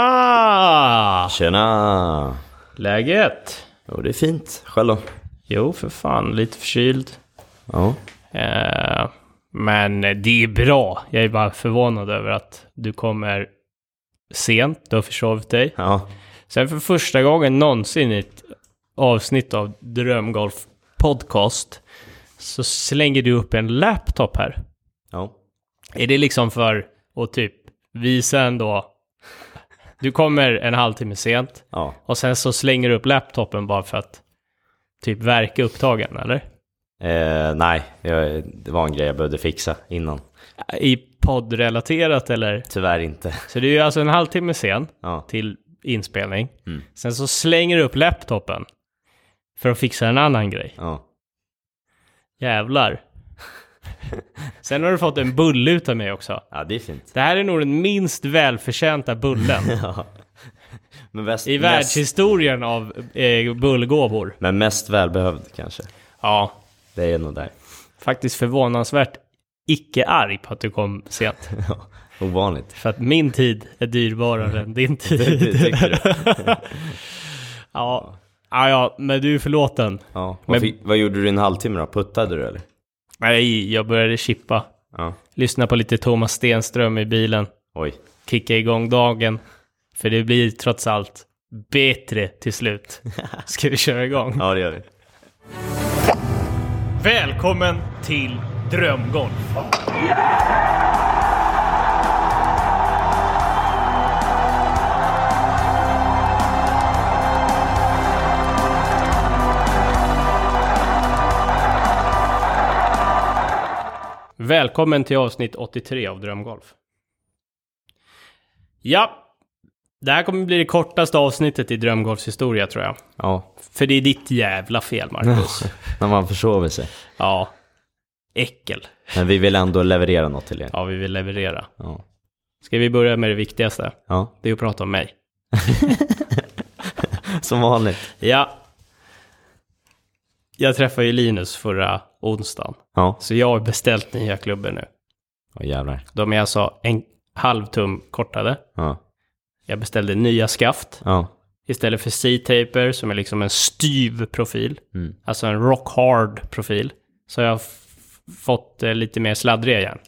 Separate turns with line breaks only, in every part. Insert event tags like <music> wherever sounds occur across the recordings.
Tjena!
Tjena!
Läget?
Jo, det är fint. Själv då?
Jo, för fan. Lite förkyld.
Ja.
Eh, men det är bra. Jag är bara förvånad över att du kommer sent. Du har försovit dig.
Ja.
Sen för första gången någonsin i ett avsnitt av Drömgolf Podcast så slänger du upp en laptop här.
Ja.
Är det liksom för att typ visa ändå... Du kommer en halvtimme sent.
Ja.
Och sen så slänger du upp laptopen bara för att typ verka upptagen, eller?
Eh, nej, jag, det var en grej jag behövde fixa innan.
I poddrelaterat eller?
Tyvärr inte. <laughs>
Så du är alltså en halvtimme sen
Ja.
till inspelning.
Mm.
Sen så slänger du upp laptopen för att fixa en annan grej.
Ja.
Jävlar. <laughs> sen har du fått en bulle utav mig också.
ja, det är fint.
Det här är nog den minst välförtjänta bullen
Ja. Men, mest,
i
mest,
världshistorien av eh, bullgåvor.
men mest välbehövd kanske.
Ja,
Det är nog där. <laughs>
faktiskt förvånansvärt icke arg på att du kom sent.
Ja. <laughs> Ovanligt.
För att min tid är dyrbarare än din tid.
Tycker du?
ja. Ja, ja, men du är förlåten.
Ja. Vad, fick, vad gjorde du i en halvtimme då? Puttade du eller?
Nej, jag började chippa.
Ja.
Lyssna på lite Thomas Stenström i bilen.
Oj.
Kicka igång dagen. För det blir trots allt bättre till slut. Ska vi köra igång?
Ja, det gör vi.
Välkommen till Drömgolf! Välkommen till avsnitt 83 av Drömgolf. Ja, det här kommer bli det kortaste avsnittet i Drömgolfs historia tror jag.
Ja.
För det är ditt jävla fel, Marcus.
<laughs> När man försover sig.
Ja. Äckel.
Men vi vill ändå leverera något till er.
Ja, vi vill leverera.
Ja.
Ska vi börja med det viktigaste?
ja.
Det är att prata om mig.
Som vanligt.
Ja. Jag träffade ju Linus förra onsdagen.
Ja.
Så jag har beställt nya klubbor nu.
Åh jävlar.
De är alltså en halv tum kortade.
Ja.
Jag beställde nya skaft.
Ja.
Istället för C-taper som är liksom en styv profil.
Mm.
Alltså en rock hard profil. Så jag har f- fått eh, lite mer sladdriga järn.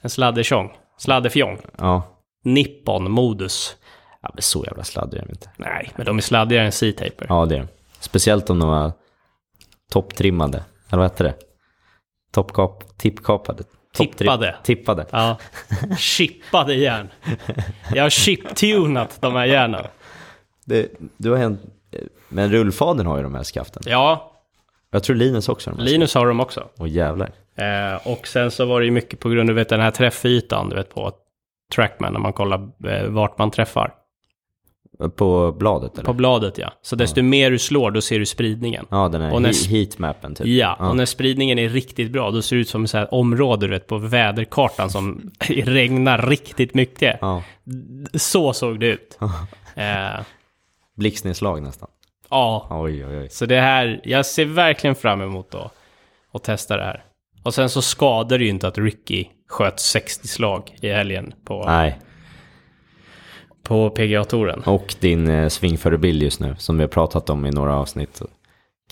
En sladdertjong. Sladderfjong.
Ja.
Nippon-modus.
Ja, men så jävla sladdrig är de inte.
Nej, men de är sladdigare än C-taper.
Ja, det är de. Speciellt om de var topptrimmade. Eller vad heter det? Toppkap, tippkapade. Topptri-
Tippade.
Tippade.
Ja. Chippade järn. Jag har chiptunat de här järnen.
Det, du har en, men rullfadern har ju de här skaften.
Ja,
Jag tror Linus också har de här.
Linus har dem också.
Åh jävlar.
Eh, och sen så var det ju mycket på grund av du vet, den här träffytan, du vet på Trackman, när man kollar eh, vart man träffar.
På bladet eller?
På bladet ja. Så desto mer du slår, då ser du spridningen.
Ja, den här
Och när-
he- heatmappen typ.
Ja, och när spridningen är riktigt bra, då ser det ut som ett område du vet, på väderkartan som <laughs> regnar riktigt mycket.
Ja,
Så såg det ut. Eh,
blixtnedslag nästan.
ja,
Oj, oj, oj.
Så det här, jag ser verkligen fram emot då att testa det här. Och sen så skadar det ju inte att Ricky sköt 60 slag i helgen på,
Nej,
på PGA-touren.
och din eh, svingförebild just nu som vi har pratat om i några avsnitt.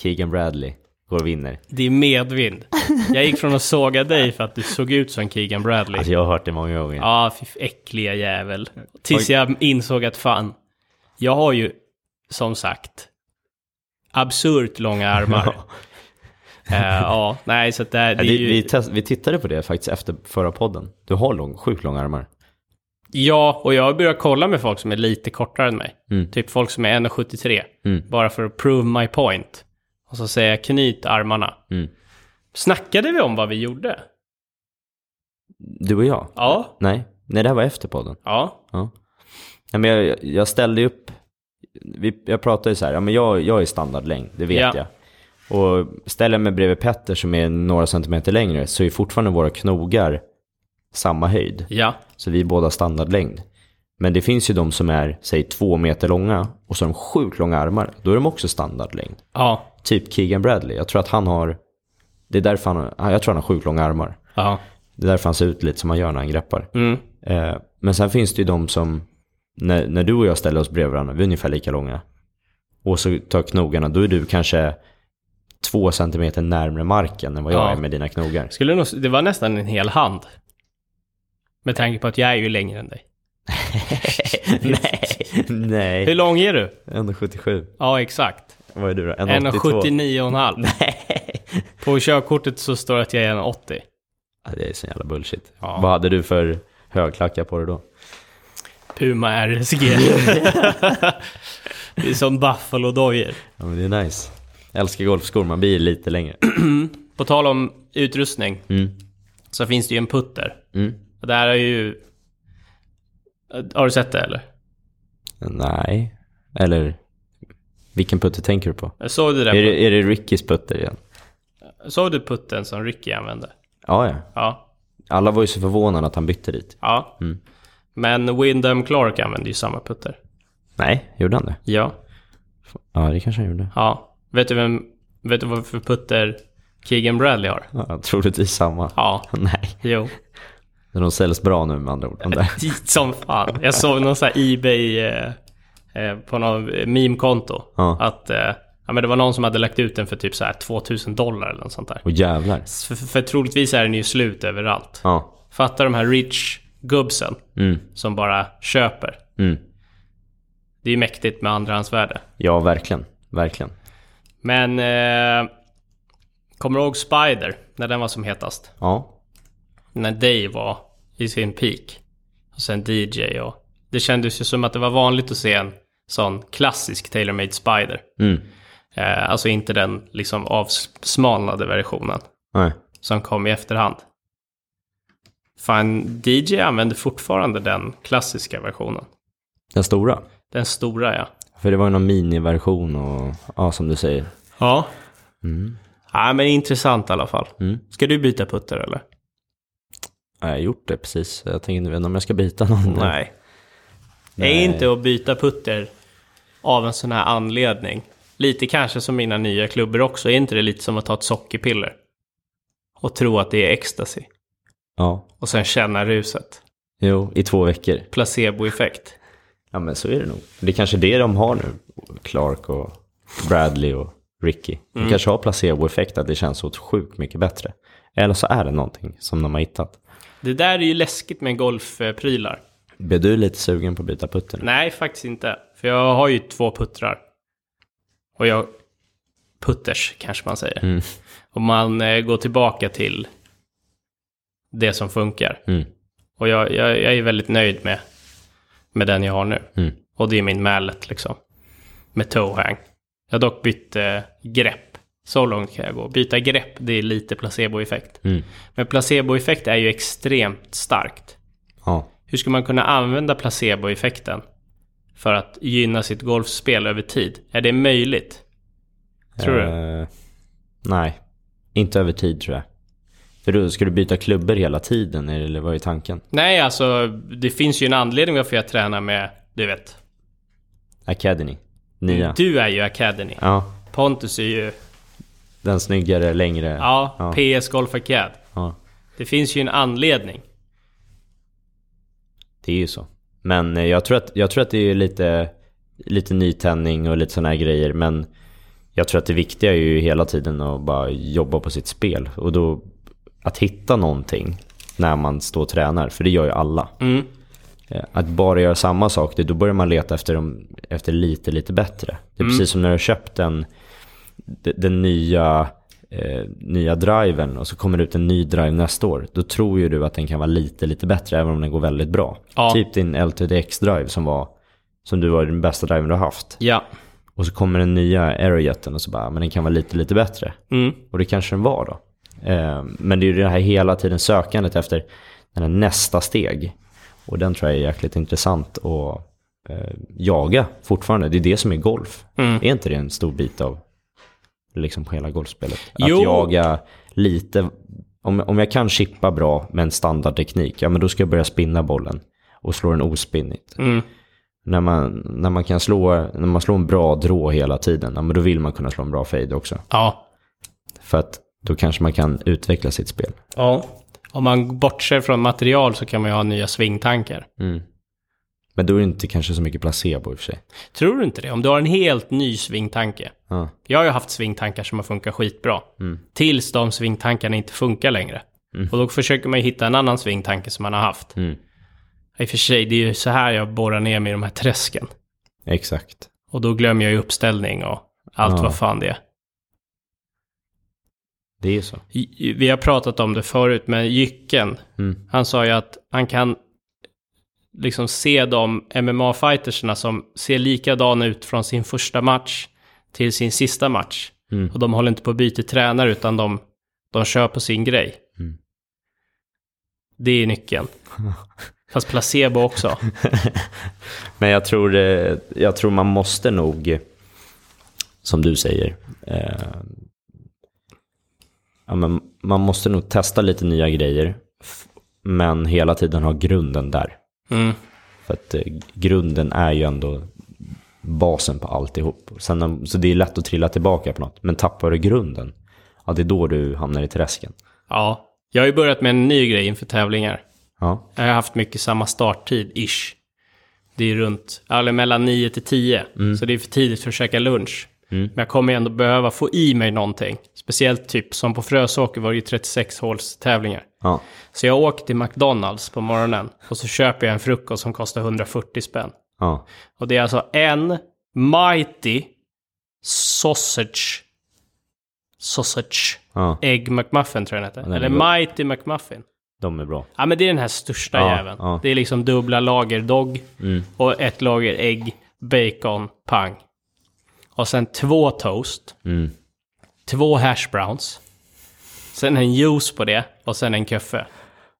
Keegan Bradley går och vinner.
Det är medvind. Jag gick från att såga dig för att du såg ut som Keegan Bradley.
Alltså jag har hört det många gånger.
Ja, ah, fy äckliga jävel. Tills jag insåg att fan, jag har ju som sagt absurt långa armar. Eh, Ja, nej så att det, här- det
Ja,
är
det,
ju...
vi, test, vi tittade på det faktiskt efter förra podden. Du har lång, sjukt långa armar.
Ja, och jag har börjat kolla med folk som är lite kortare än mig.
Mm.
Typ folk som är 1,73.
Mm.
Bara för att prove my point. Och så säger jag knyt armarna.
Mm.
Snackade vi om vad vi gjorde?
Du och jag?
Ja.
Nej, Nej det här var efter podden.
Ja.
Ja. Nej, men jag, jag ställde ju upp, vi, jag pratade ju så här, ja, men jag, jag är standardlängd, det vet
Ja.
jag. Och ställer jag mig bredvid Petter som är några centimeter längre så är fortfarande våra knogar samma höjd.
Ja.
Så vi är båda standardlängd. Men det finns ju de som är, säg två meter långa och så har de sjukt långa armar. Då är de också standardlängd.
Ja.
typ Keegan Bradley. Jag tror att han har, det är därför han, har- jag tror han har sjukt långa armar.
Ja.
Det är därför han ser ut lite som han gör när han greppar.
Mm.
Eh, men sen finns det ju de som när, när du och jag ställer oss bredvid varandra, vi är ungefär lika långa. Och så tar knogarna, då är du kanske två centimeter närmare marken än vad jag
Ja.
är med dina knogar.
<laughs> Skulle nog, det var nästan en hel hand. Med tanke på att jag är ju längre än dig.
nej,
Hur
nej.
lång är du?
1,77.
Ja, exakt.
Vad är du då? 1,82.
1,79,5.
Nej.
På körkortet så står det att jag är 1,80.
Ja, Det är så jävla bullshit.
Ja.
Vad hade du för högklackat på dig då?
Puma RSG. <laughs> det är som Buffalo-dojor.
Ja, men det är nice. Jag älskar golfskor, man blir lite längre.
På tal om utrustning
Mm.
så finns det ju en putter.
Mm.
Och där är ju... Har du sett det eller?
Nej. Eller, vilken putter tänker du på?
Jag Såg du,
Är
den,
det, är det Rickys putter igen?
såg du putten som Ricky använde?
Ja, ja.
Ja.
Alla var ju så förvånade att han bytte dit.
ja.
Mm.
Men Wyndham Clark använde ju samma putter.
Nej, gjorde han det?
Ja.
Ja, det kanske han gjorde.
Ja. Vet du vem... Vet du vad för putter Keegan Bradley har?
Ja, troligtvis samma.
Ja.
Nej,
Jo. <laughs>
de säljs bra nu med andra ord. de där.
Som fan. Jag såg någon sån här Ebay eh, eh, på något meme-konto.
Ja.
Att eh, ja, men det var någon som hade lagt ut den för typ så här 2000 dollar eller något sånt där.
Och jävlar.
För, för troligtvis är den ju slut överallt.
Ja.
Fatta de här rich gubbsen
Mm.
som bara köper.
Mm.
Det är ju mäktigt med andrahandsvärde.
Ja, verkligen. Verkligen.
Men eh, kommer du ihåg Spider? När den var som hetast.
Ja.
När Dave var i sin peak. Och sen DJ och... Det kändes ju som att det var vanligt att se en sån klassisk tailor-made Spider.
Mm.
Eh, alltså inte den liksom avsmalnade versionen
Nej.
som kom i efterhand. Fan, DJ använder fortfarande den klassiska versionen.
Den stora.
Den stora ja.
För det var ju någon miniversion och, ja som du säger.
Ja. Nej men intressant i alla fall. Ska du byta putter eller?
Ja, jag har gjort det precis. Jag tänker inte vet inte om jag ska byta någon.
Nej. Det är inte att byta putter av en sån här anledning. Lite kanske som mina nya klubbor också. Är inte det lite som att ta ett sockerpiller? Och tro att det är ecstasy.
Ja.
Och sen känna ruset.
Jo, i två veckor.
Placeboeffekt.
Ja, men så är det nog. Det är kanske det de har nu. Clark och Bradley och Ricky. De
Mm.
kanske har placeboeffekt att det känns så sjukt mycket bättre. Eller så är det någonting som de har hittat.
Det där är ju läskigt med golfprylar.
Blev du lite sugen på att byta putter? nu?
Nej, faktiskt inte. För jag har ju två puttrar. Och jag... Putters, kanske man säger.
Mm.
Och man eh, går tillbaka till det som funkar.
Mm.
Och jag, jag, jag är väldigt nöjd med, med den jag har nu.
Mm.
Och det är min mallet liksom. Med towhang. Jag har dock bytt eh, grepp. Så långt kan jag gå. Byta grepp, det är lite placeboeffekt.
Mm.
Men placeboeffekt är ju extremt starkt.
Ja.
Hur ska man kunna använda placeboeffekten för att gynna sitt golfspel över tid? Är det möjligt? Tror du?
Eh, nej, inte över tid tror jag. För då ska du byta klubbor hela tiden, eller vad är tanken?
Nej, alltså det finns ju en anledning varför jag tränar med, du vet.
Academy, nya.
Du är ju Academy.
Ja,
Pontus är ju,
den snyggare, längre.
ja,
Ja.
PS Golf Acad.
Ja,
Det finns ju en anledning.
det är ju så. Men eh, jag tror att, jag tror att det är lite, lite nytändning och lite sådana här grejer. Men jag tror att det viktiga är ju hela tiden att bara jobba på sitt spel. Och då att hitta någonting när man står och tränar, för det gör ju alla.
Mm.
Eh, Att bara göra samma sak, det- då börjar man leta efter, dem, efter lite, lite bättre. Det är
Mm.
precis som när du har köpt den, de- den nya, eh, nya driven och så kommer det ut en ny drive nästa år. Då tror ju du att den kan vara lite, lite bättre även om den går väldigt bra.
Ja.
Typ din LTDX-drive som, var, som du var den bästa driven du har haft.
Ja.
Och så kommer den nya Aerojetten och så bara, men den kan vara lite, lite bättre.
Mm.
Och det kanske den var då. Eh, Men det är ju det här hela tiden sökandet efter den här nästa steg. Och den tror jag är jäkligt intressant att eh, jaga fortfarande. Det är det som är golf. Är inte det en stor bit av liksom hela golfspelet?
Jo.
Att jaga lite, om, om jag kan chippa bra med en standardteknik, ja men då ska jag börja spinna bollen och slå den ospinnigt.
Mm.
När man, när man kan slå, när man slår en bra drå hela tiden, ja men då vill man kunna slå en bra fade också.
Ja.
För att då kanske man kan utveckla sitt spel.
Ja. Om man bortser från material så kan man ju ha nya svingtankar.
Men då är det inte kanske så mycket placebo i och för sig.
Tror du inte det? Om du har en helt ny svingtanke.
Ja. Mm.
Jag har ju haft svingtankar som har funkat skitbra. Tills de svingtankarna inte funkar längre. Och då försöker man ju hitta en annan svingtanke som man har haft.
Mm.
I och för sig, det är ju så här jag borrar ner mig i de här träsken.
Exakt.
Och då glömmer jag ju uppställning och allt
Ja.
vad fan det är.
Det är så.
I- i- Vi har pratat om det förut, men Jycken,
Mm.
han sa ju att han kan liksom se de MMA-fightersna som ser likadana ut från sin första match till sin sista match.
Mm.
Och de håller inte på att byta tränare, utan de, de kör på sin grej.
Mm.
Det är
<laughs>
nyckeln. Fast placebo också.
Men jag tror, eh, jag tror man måste nog, eh, som du säger, eh, ja, men man måste nog testa lite nya grejer, f- men hela tiden ha grunden där.
Mm.
För att eh, grunden är ju ändå basen på alltihop. Sen, om- så det är lätt att trilla tillbaka på något, men tappar du grunden, ja det är då du hamnar i träsken.
Ja, jag har ju börjat med en ny grej inför tävlingar.
Ja,
Jag har haft mycket samma starttid, ish. Det är runt, eller mellan 9 till 10. Så det är för tidigt för att käka lunch. Men jag kommer ju ändå behöva få i mig någonting. Speciellt typ som på Frösåker var det ju 36 håls tävlingar.
ja.
Så jag åker till McDonalds på morgonen och så köper jag en frukost som kostar 140 spänn.
ja.
Och det är alltså en mighty sausage. Sausage.
ja.
Egg McMuffin tror jag den heter.
den är
Eller
god.
mighty McMuffin.
De är bra.
Ja men det är den här största
Ja,
jäveln.
ja. Mm.
Det är liksom dubbla lager dog och ett lager ägg, bacon, pang. Och sen två toast,
Mm.
två hash browns. Sen en juice på det och sen en kaffe.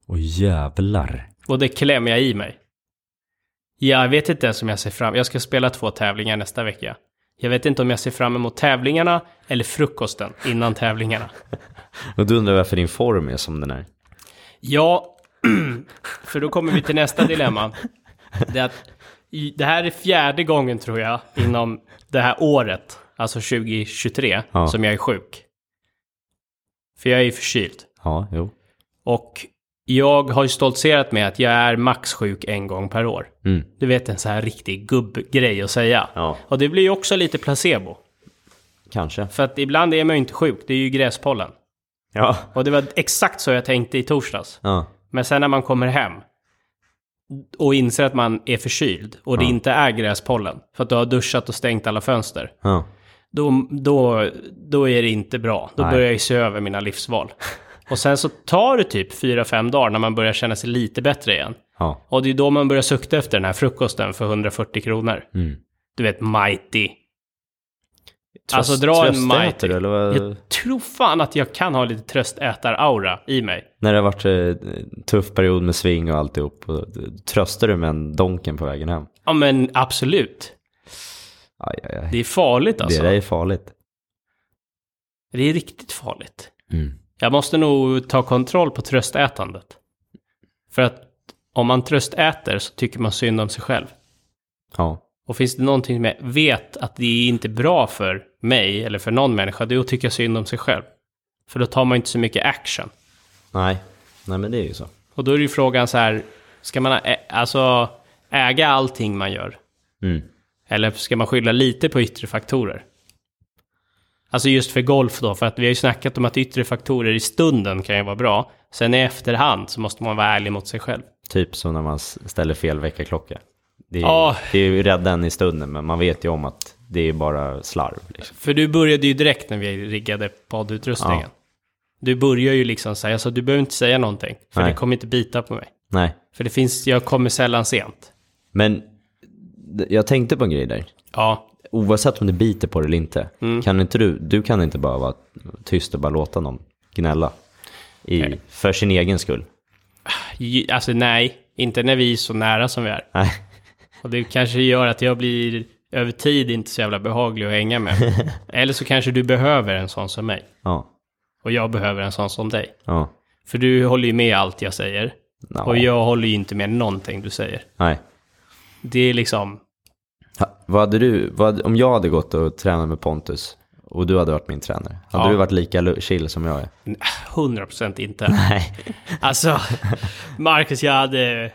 Och jävlar.
Och det klämmer jag i mig. Jag vet inte ens om jag ser fram Jag ska spela två tävlingar nästa vecka. Jag vet inte om jag ser fram emot tävlingarna eller frukosten innan tävlingarna.
Och du undrar varför din form är som den är.
Ja, <clears throat> för då kommer vi till nästa dilemma. Det, är att, i- det här är fjärde gången tror jag inom det här året, alltså 2023,
Ja.
som jag är sjuk. För jag är ju förkyld.
Ja, jo.
Och jag har ju stoltserat med att jag är max sjuk en gång per år.
Mm.
Du vet en sån här riktig gubbgrej att säga.
Ja.
Och det blir ju också lite placebo.
Kanske.
För att ibland är man ju inte sjuk, det är ju gräspollen.
Ja.
Och det var exakt så jag tänkte i torsdags.
Ja.
Men sen när man kommer hem och inser att man är förkyld och det inte är gräspollen för att du har duschat och stängt alla fönster.
Ja.
Då, då, då är det inte bra. Då
Nej.
börjar jag ju se över mina
<laughs>
livsval. Och sen så tar det typ fyra fem dagar när man börjar känna sig lite bättre igen.
Ja.
Och det är då man börjar sukta efter den här frukosten för 140 kronor.
Mm. Eh.
Du vet, mighty.
Tröst,
Alltså dra en
tröstäter,
mighty.
Eller vad?
Jag tror fan att jag kan ha lite tröstätar-aura i mig.
När det har varit eh, en tuff period med sving och alltihop. Och eh, tröstar du med en donken på vägen hem?
Ja men absolut.
Aj, aj, aj.
Det är farligt
Det
alltså.
där är farligt.
Det är riktigt farligt.
Mm.
Jag måste nog ta kontroll på tröstätandet. För att om man tröstäter så tycker man synd om sig själv.
Ja.
Och finns det någonting som jag vet att det är inte bra för mig eller för någon människa, det är att tycka synd om sig själv. För då tar man inte så mycket action.
Nej. Nej, men det är ju så.
Och då är ju frågan så här, ska man ä- alltså äga allting man gör?
Mm.
Eller ska man skylla lite på yttre faktorer? Alltså just för golf då, för att vi har ju snackat om att yttre faktorer i stunden kan ju vara bra. Sen i efterhand så måste man vara ärlig mot sig själv.
Typ som när man s- ställer fel väckarklocka. Det är,
Ja.
det är ju räddan i stunden, men man vet ju om att det är bara slarv. Liksom.
För du började ju direkt när vi riggade poddutrustningen.
Ja.
Du börjar ju liksom säga, så du behöver inte säga någonting. För
Nej.
det kommer inte bita på mig.
Nej.
För det finns, jag kommer sällan sent.
Men d- jag tänkte på en grej där.
Ja,
oavsett om du biter på det eller inte,
Mm.
kan inte du, du kan inte bara vara tyst och bara låta någon gnälla. I, för sin egen skull.
Ju- alltså nej, inte när vi är så nära som vi är.
Nej,
Och det kanske gör att jag blir över tid inte så jävla behaglig att hänga med. Eller så kanske du behöver en sån som mig.
ja,
Och jag behöver en sån som dig.
ja,
För du håller ju med allt jag säger.
Nå.
Och jag håller ju inte med någonting du säger.
nej.
Det är liksom,
Ha, vad hade du, vad, om jag hade gått och tränat med Pontus och du hade varit min tränare, hade
Ja.
du varit lika lu- chill som jag är?
100% inte.
Nej.
Alltså, Marcus, jag hade...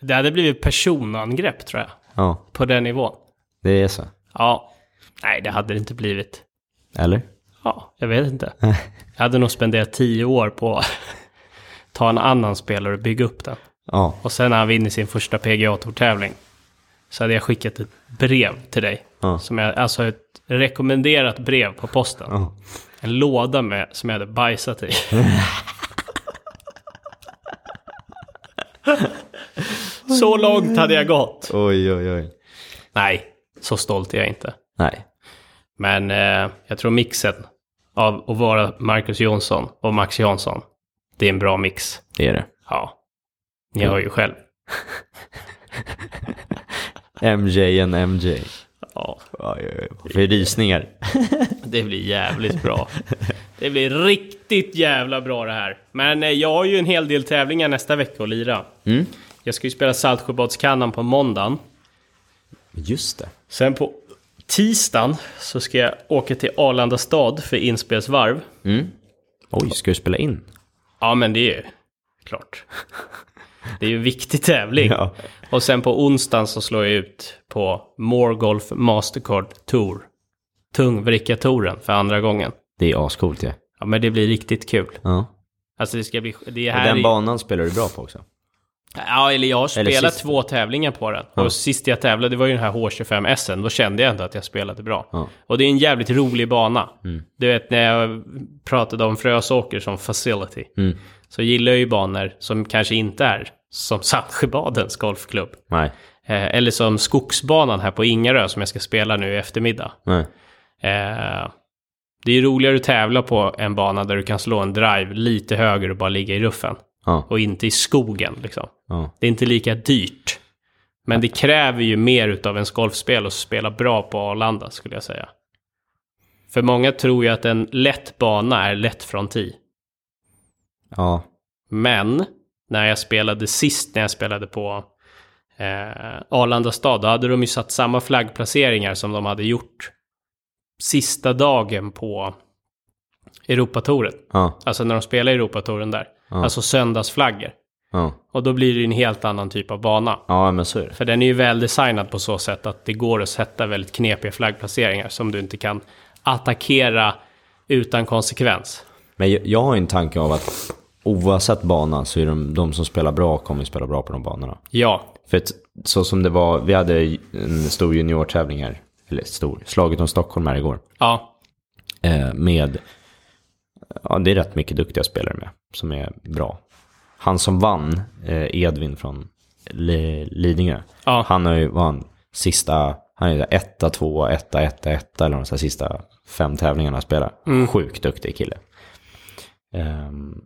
Det hade blivit personangrepp tror jag.
Ja,
På den nivån.
det är så.
Ja. Nej, det hade det inte blivit.
Eller?
Ja, jag vet
<laughs>
inte. Jag hade nog spenderat tio år på att ta en annan spelare och bygga upp den.
Ja,
Och sen när han vinner sin första PGA-tourtävling så hade jag skickat ett brev till dig.
Ja.
Som jag, alltså ett rekommenderat brev på posten.
Ja.
En låda med, som jag hade bajsat
<laughs>
i. så långt hade jag gått.
oj oj oj.
Nej, så stolt är jag inte.
Nej,
Men eh, jag tror mixen av att vara Marcus Jonsson och Max Jansson, det är en bra mix.
det är det.
Ja, ni hör ju själv.
MJ en MJ.
Ja,
Oj, oj, oj. För rysningar.
det blir jävligt bra. Det blir riktigt jävla bra det här. Men eh, jag har ju en hel del tävlingar nästa vecka att lira. Jag ska ju spela Saltsjöbadskannan på måndagen.
Just det.
Sen på tisdagen så ska jag åka till Arlanda stad för inspelsvarv.
Oj, ska du spela in?
Ja, men det är ju klart. Det är ju en viktig tävling.
Ja.
Och sen på onsdagen så slår jag ut på Moregolf Mastercard Tour. Tungvricka-touren för andra gången.
Det är ascoolt ju. Ja.
Ja, men det blir riktigt kul.
Ja.
Alltså det ska bli... Det är
Och
här
den
i-
banan spelar du bra på också.
Ja, eller jag har
Eller
spelat
sist.
två tävlingar på den. Och sist jag tävlade, det var ju den här H25 SN. Då kände jag ändå att jag spelade bra.
Ja. Mm.
Och det är en jävligt rolig bana. Du vet, när jag pratade om Frösåker som facility.
Mm.
Så gillar jag ju banor som kanske inte är som Saltsjöbadens golfklubb.
Nej.
Eh, eller som Skogsbanan här på Ingarö som jag ska spela nu i eftermiddag.
Nej.
Eh, det är ju roligare att tävla på en bana där du kan slå en drive lite höger och bara ligga i ruffen.
Ja.
Och inte i skogen liksom.
ja.
Det är inte lika dyrt. Men det kräver ju mer utav ens golfspel att spela bra på Arlanda skulle jag säga. För många tror ju att en lätt bana är lätt från tee.
Ja.
Men när jag spelade sist, när jag spelade på eh, Arlanda stad, då hade de ju satt samma flaggplaceringar som de hade gjort sista dagen på Europatouren.
Ja.
Alltså när de spelade Europatouren där. Alltså söndagsflaggor.
Ja.
Och då blir det ju en helt annan typ av bana.
Ja, men så är det.
För den är ju väldesignad på så sätt att det går att sätta väldigt knepiga flaggplaceringar som du inte kan attackera utan konsekvens.
Men jag, jag har ju en tanke av att oavsett bana så är de, de som spelar bra kommer ju spela bra på de banorna.
Ja,
För att, så som det var, vi hade en stor juniortävling här, eller stor, slaget om Stockholm här igår.
ja,
Eh, med, ja det är rätt mycket duktiga spelare med, som är bra. Han som vann, eh, Edvin från Li- Lidingö,
Ja.
han har ju vann sista, han är ju etta, tvåa, etta, etta, etta eller de så här sista fem tävlingarna han spelar.
Mm.
Sjukt duktig kille. Ehm,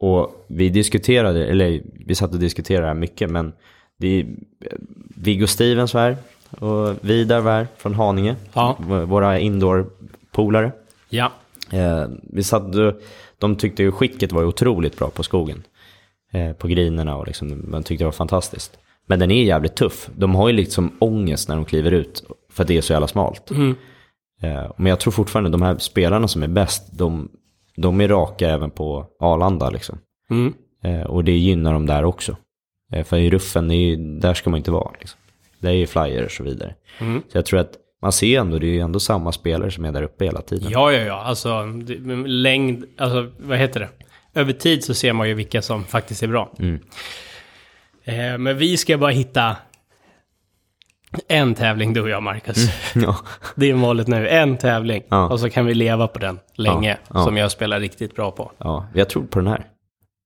och vi diskuterade, eller vi satt och diskuterade det här mycket, men det är eh, Viggo Stevens var här och Vidar var här från Haninge,
Ja.
v- våra indoor-polare.
ja,
Eh, vi satt, och- de tyckte ju skicket var otroligt bra på skogen, eh, på grinerna och liksom, man tyckte det var fantastiskt. Men den är jävligt tuff. De har ju liksom ångest när de kliver ut för att det är så jävla smalt. Eh, men jag tror fortfarande de här spelarna som är bäst, de, de är raka även på Arlanda liksom.
mm,
Eh, och det gynnar dem där också. Eh, för i ruffen, är ju, där ska man inte vara. Liksom. Där är ju flyers och så vidare. Så jag tror att man ser ju ändå, det är ju ändå samma spelare som är där uppe hela tiden.
ja, ja, ja, alltså det- men längd, alltså vad heter det? Över tid så ser man ju vilka som faktiskt är bra.
Mm.
Eh, men vi ska bara hitta en tävling du och jag, Marcus.
<laughs> Ja.
<laughs> Det är målet nu, en tävling.
Mm. Ja.
Och så kan vi leva på den länge,
Ja, ja.
som jag spelar riktigt bra på.
ja, jag tror på den här.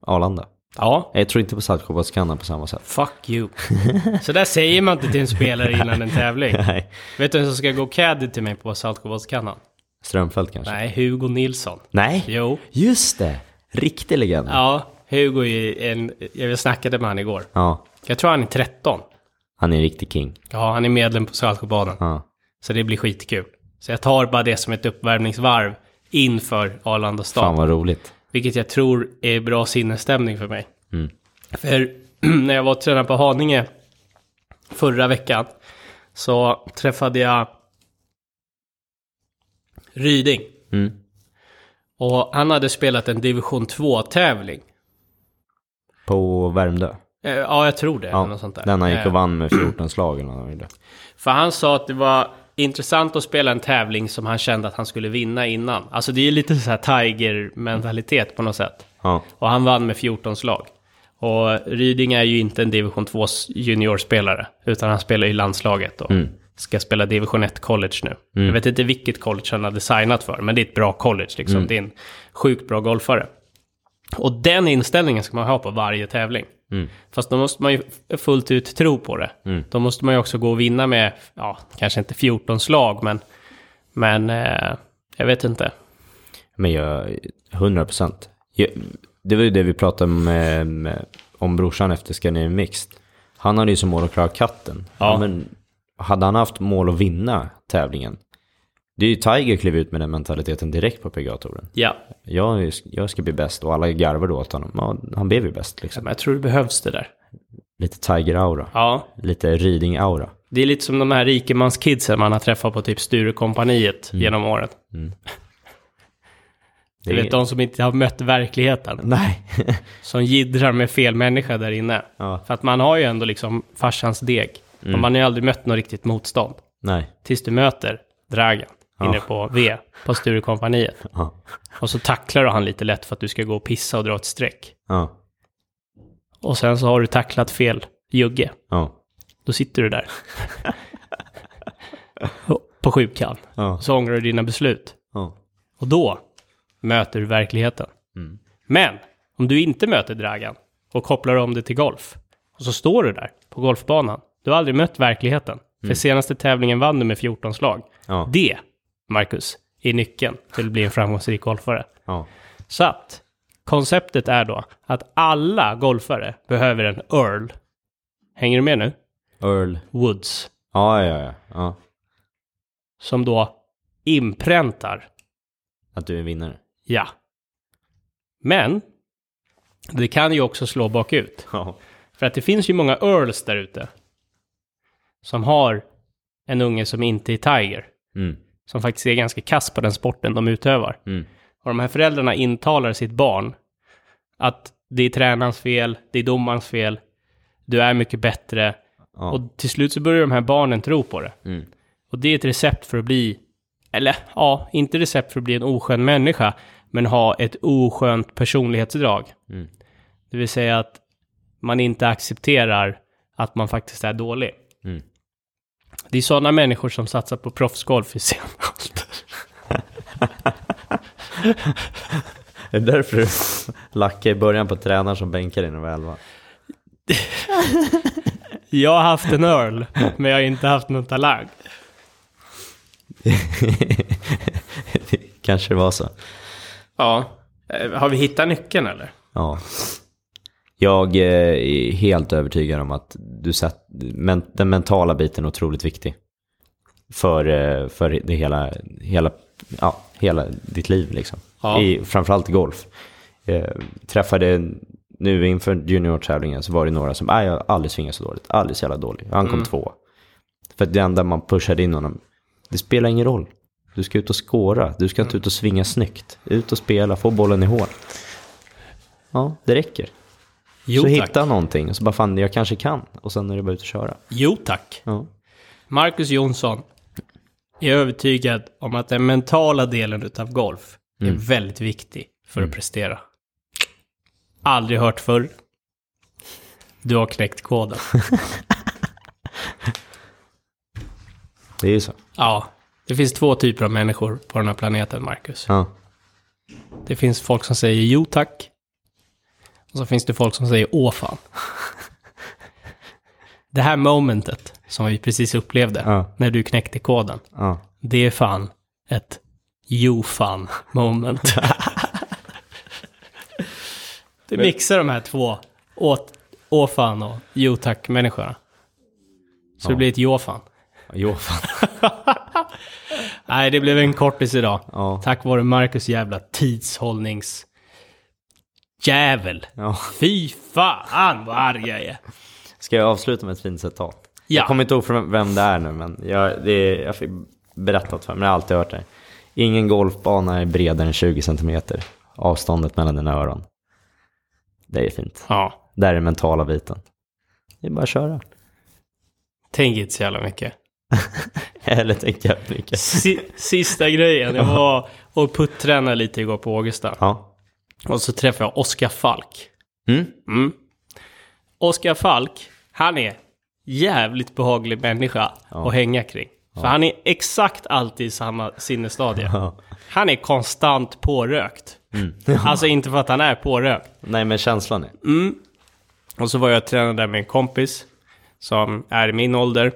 Arlanda.
Ja,
Nej, Jag tror inte på Saltsjöbadskannan på samma sätt. <laughs>
Fuck you. Så där säger man inte till en spelare innan en tävling.
<laughs> Nej.
Vet du vem som ska gå caddy till mig på Saltsjöbadskannan?
Strömfält kanske?
Nej, Hugo Nilsson.
Nej.
Jo.
Just det! Riktig legend.
Ja, Hugo är en... Jag snackade med han igår.
Ja,
Jag tror han är 13.
Han är en riktig king.
Ja, han är medlem på Saltsjöbaden.
Ja.
Så det blir skitkul. Så jag tar bara det som ett uppvärmningsvarv inför Arlanda stad.
Fan vad roligt.
Vilket jag tror är bra sinnesstämning för mig.
Mm.
För <clears throat> när jag var och tränade på Haninge förra veckan så träffade jag Ryding.
Mm.
Och han hade spelat en division 2-tävling.
På Värmdö?
Eh, Ja, jag tror det.
Ja,
eller något sånt där.
Den han gick
Eh,
och vann med 14 slag eller något.
För han sa att det var intressant att spela en tävling som han kände att han skulle vinna innan. Alltså det är ju lite så här Tiger-mentalitet på något sätt.
Ja.
Och han vann med 14 slag. Och Ryding är ju inte en division 2 juniorspelare, utan han spelar i landslaget och ska spela division 1 college nu. Jag vet inte vilket college han hade signat för, men det är ett bra college liksom. Det är en sjukt bra golfare. Och den inställningen ska man ha på varje tävling. Fast då måste man ju fullt ut tro på det. Då måste man ju också gå och vinna med, ja, kanske inte 14 slag, men, men eh, jag vet inte.
Men jag, 100 procent. Det var ju det vi pratade om, eh, med- om brorsan efter Scandinavian Mixed. Han hade ju som mål att klara katten.
Ja.
men hade han haft mål att vinna tävlingen? Det är ju Tiger klev ut med den mentaliteten direkt på PGA-touren.
Ja,
Jag, jag ska bli bäst och alla garvar då åt honom. Ja, han blev ju bäst liksom.
men jag tror det behövs det där.
Lite Tiger-aura.
Ja,
Lite Riding-aura.
Det är lite som de här rikemanskidsen man har träffat på typ Sturecompagniet genom åren.
Det
<laughs> Du
är-
vet, de som inte har mött verkligheten.
Nej. <laughs>
Som jiddrar med fel människa där inne.
Ja.
För att man har ju ändå liksom farsans deg. Och man har ju aldrig mött något riktigt motstånd.
Nej.
Tills du möter Dragan inne på V, på Sturecompagniet.
Ja.
Och så tacklar du han lite lätt för att du ska gå och pissa och dra ett streck.
Ja.
Och sen så har du tacklat fel jugge.
Ja.
Då sitter du där. på sjukan.
Ja.
Så ångrar du dina beslut.
Ja.
Och då möter du verkligheten. Men om du inte möter Dragan och kopplar om det till golf och så står du där på golfbanan. Du har aldrig mött verkligheten. För senaste tävlingen vann du med 14 slag.
Ja.
Det, Marcus, är nyckeln till att bli en framgångsrik golfare.
Ja.
Så att konceptet är då att alla golfare behöver en Earl. Hänger du med nu?
Earl.
Woods.
Ja, ja, ja. ja.
Som då inpräntar
Att du är en vinnare.
Ja. Men det kan ju också slå bakut.
Ja.
För att det finns ju många earls där ute. Som har en unge som inte är tiger.
Mm.
Som faktiskt är ganska kass på den sporten de utövar.
Mm.
Och de här föräldrarna intalar sitt barn att det är tränarens fel, det är domarens fel, du är mycket bättre.
Ja.
Och till slut så börjar de här barnen tro på det.
Mm.
Och det är ett recept för att bli, eller ja, inte recept för att bli en oskön människa, men ha ett oskönt personlighetsdrag.
Mm.
Det vill säga att man inte accepterar att man faktiskt är dålig.
Mm.
Det är sådana människor som satsar på proffsgolf i sen ålder.
Är det därför du lackar i början på tränaren som bänkar dig när du var 11?
Jag har haft en öl, men jag har inte haft någon talang.
Kanske det var så.
Ja. Eh, Har vi hittat nyckeln eller?
Ja. Jag eh, är helt övertygad om att du satt, men, den mentala biten är otroligt viktig. För, eh, för det hela, hela, ja, hela ditt liv liksom.
Ja.
I, framförallt i golf. Eh, träffade nu inför juniortävlingen så var det några som, nej jag har aldrig svingat så dåligt, aldrig så jävla dålig. Han kom två. För det enda man pushade in honom, det spelar ingen roll. Du ska ut och skåra, du ska inte ut och svinga snyggt. Ut och spela, få bollen i hål. Ja, det räcker.
Jo
så
tack.
hitta någonting och så bara fan, jag kanske kan. Och sen är det bara ut och köra.
Jo tack.
Ja.
Marcus Jonsson är övertygad om att den mentala delen utav golf
Mm.
är väldigt viktig för att prestera. Aldrig hört förr. Du har knäckt
<laughs>
koden.
Det är ju så.
Ja, det finns två typer av människor på den här planeten, Marcus.
Ja.
Det finns folk som säger jo tack. Och så finns det folk som säger åh fan. Det här momentet som vi precis upplevde,
Ja.
när du knäckte koden,
ja.
det är fan ett jo fan moment. <laughs> du mixar de här två, åt, åh fan och jo tack människorna. Så det blir ett jo fan.
Jo, fan.
Nej, det blev en kortis idag.
Ja.
Tack vare Marcus jävla tidshållnings... Jävel.
Ja.
Fy fan vad arg jag är.
Ska jag avsluta med ett fint citat?
Ja.
Jag kommer inte ihåg från vem det är nu, men jag, det är, jag fick berättat för mig, men jag har alltid hört det. Ingen golfbana är bredare än 20 centimeter. Avståndet mellan dina öron. Det är fint.
Ja,
Där är den mentala biten. Det är bara att köra. <laughs>
Tänk inte så jävla mycket.
Eller tänka jävligt mycket.
Si- Sista grejen, jag var och puttränade lite igår på Ågesta.
Ja.
Och så träffade jag Oskar Falk.
Mm.
Mm. Oskar Falk, han är jävligt behaglig människa att hänga kring. För han är exakt alltid i samma sinnesstadie.
Ja.
Han är konstant pårökt. alltså inte för att han är pårökt.
Nej, men känslan är.
Och så var jag och tränade där med en kompis som är i min ålder.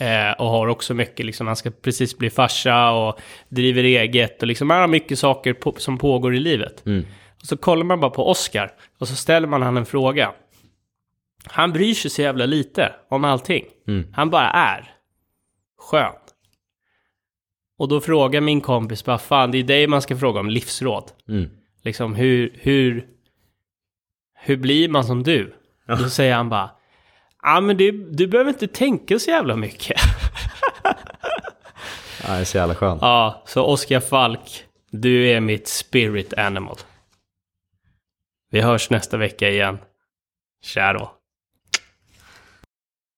Eh, och har också mycket, liksom, han ska precis bli farsa och driver eget och liksom, han har mycket saker på, som pågår i livet. Och så kollar man bara på Oscar och så ställer man han en fråga. Han bryr sig så jävla lite om allting. Han bara är. Skön. Och då frågar min kompis bara, fan det är dig man ska fråga om livsråd.
Mm.
Liksom hur, hur, hur blir man som du? Då säger han bara, ja men du, du behöver inte tänka så jävla mycket. <laughs>
Ja, det är så jävla skönt.
ja, så Oskar Falk, du är mitt spirit animal. Vi hörs nästa vecka igen. Tja då.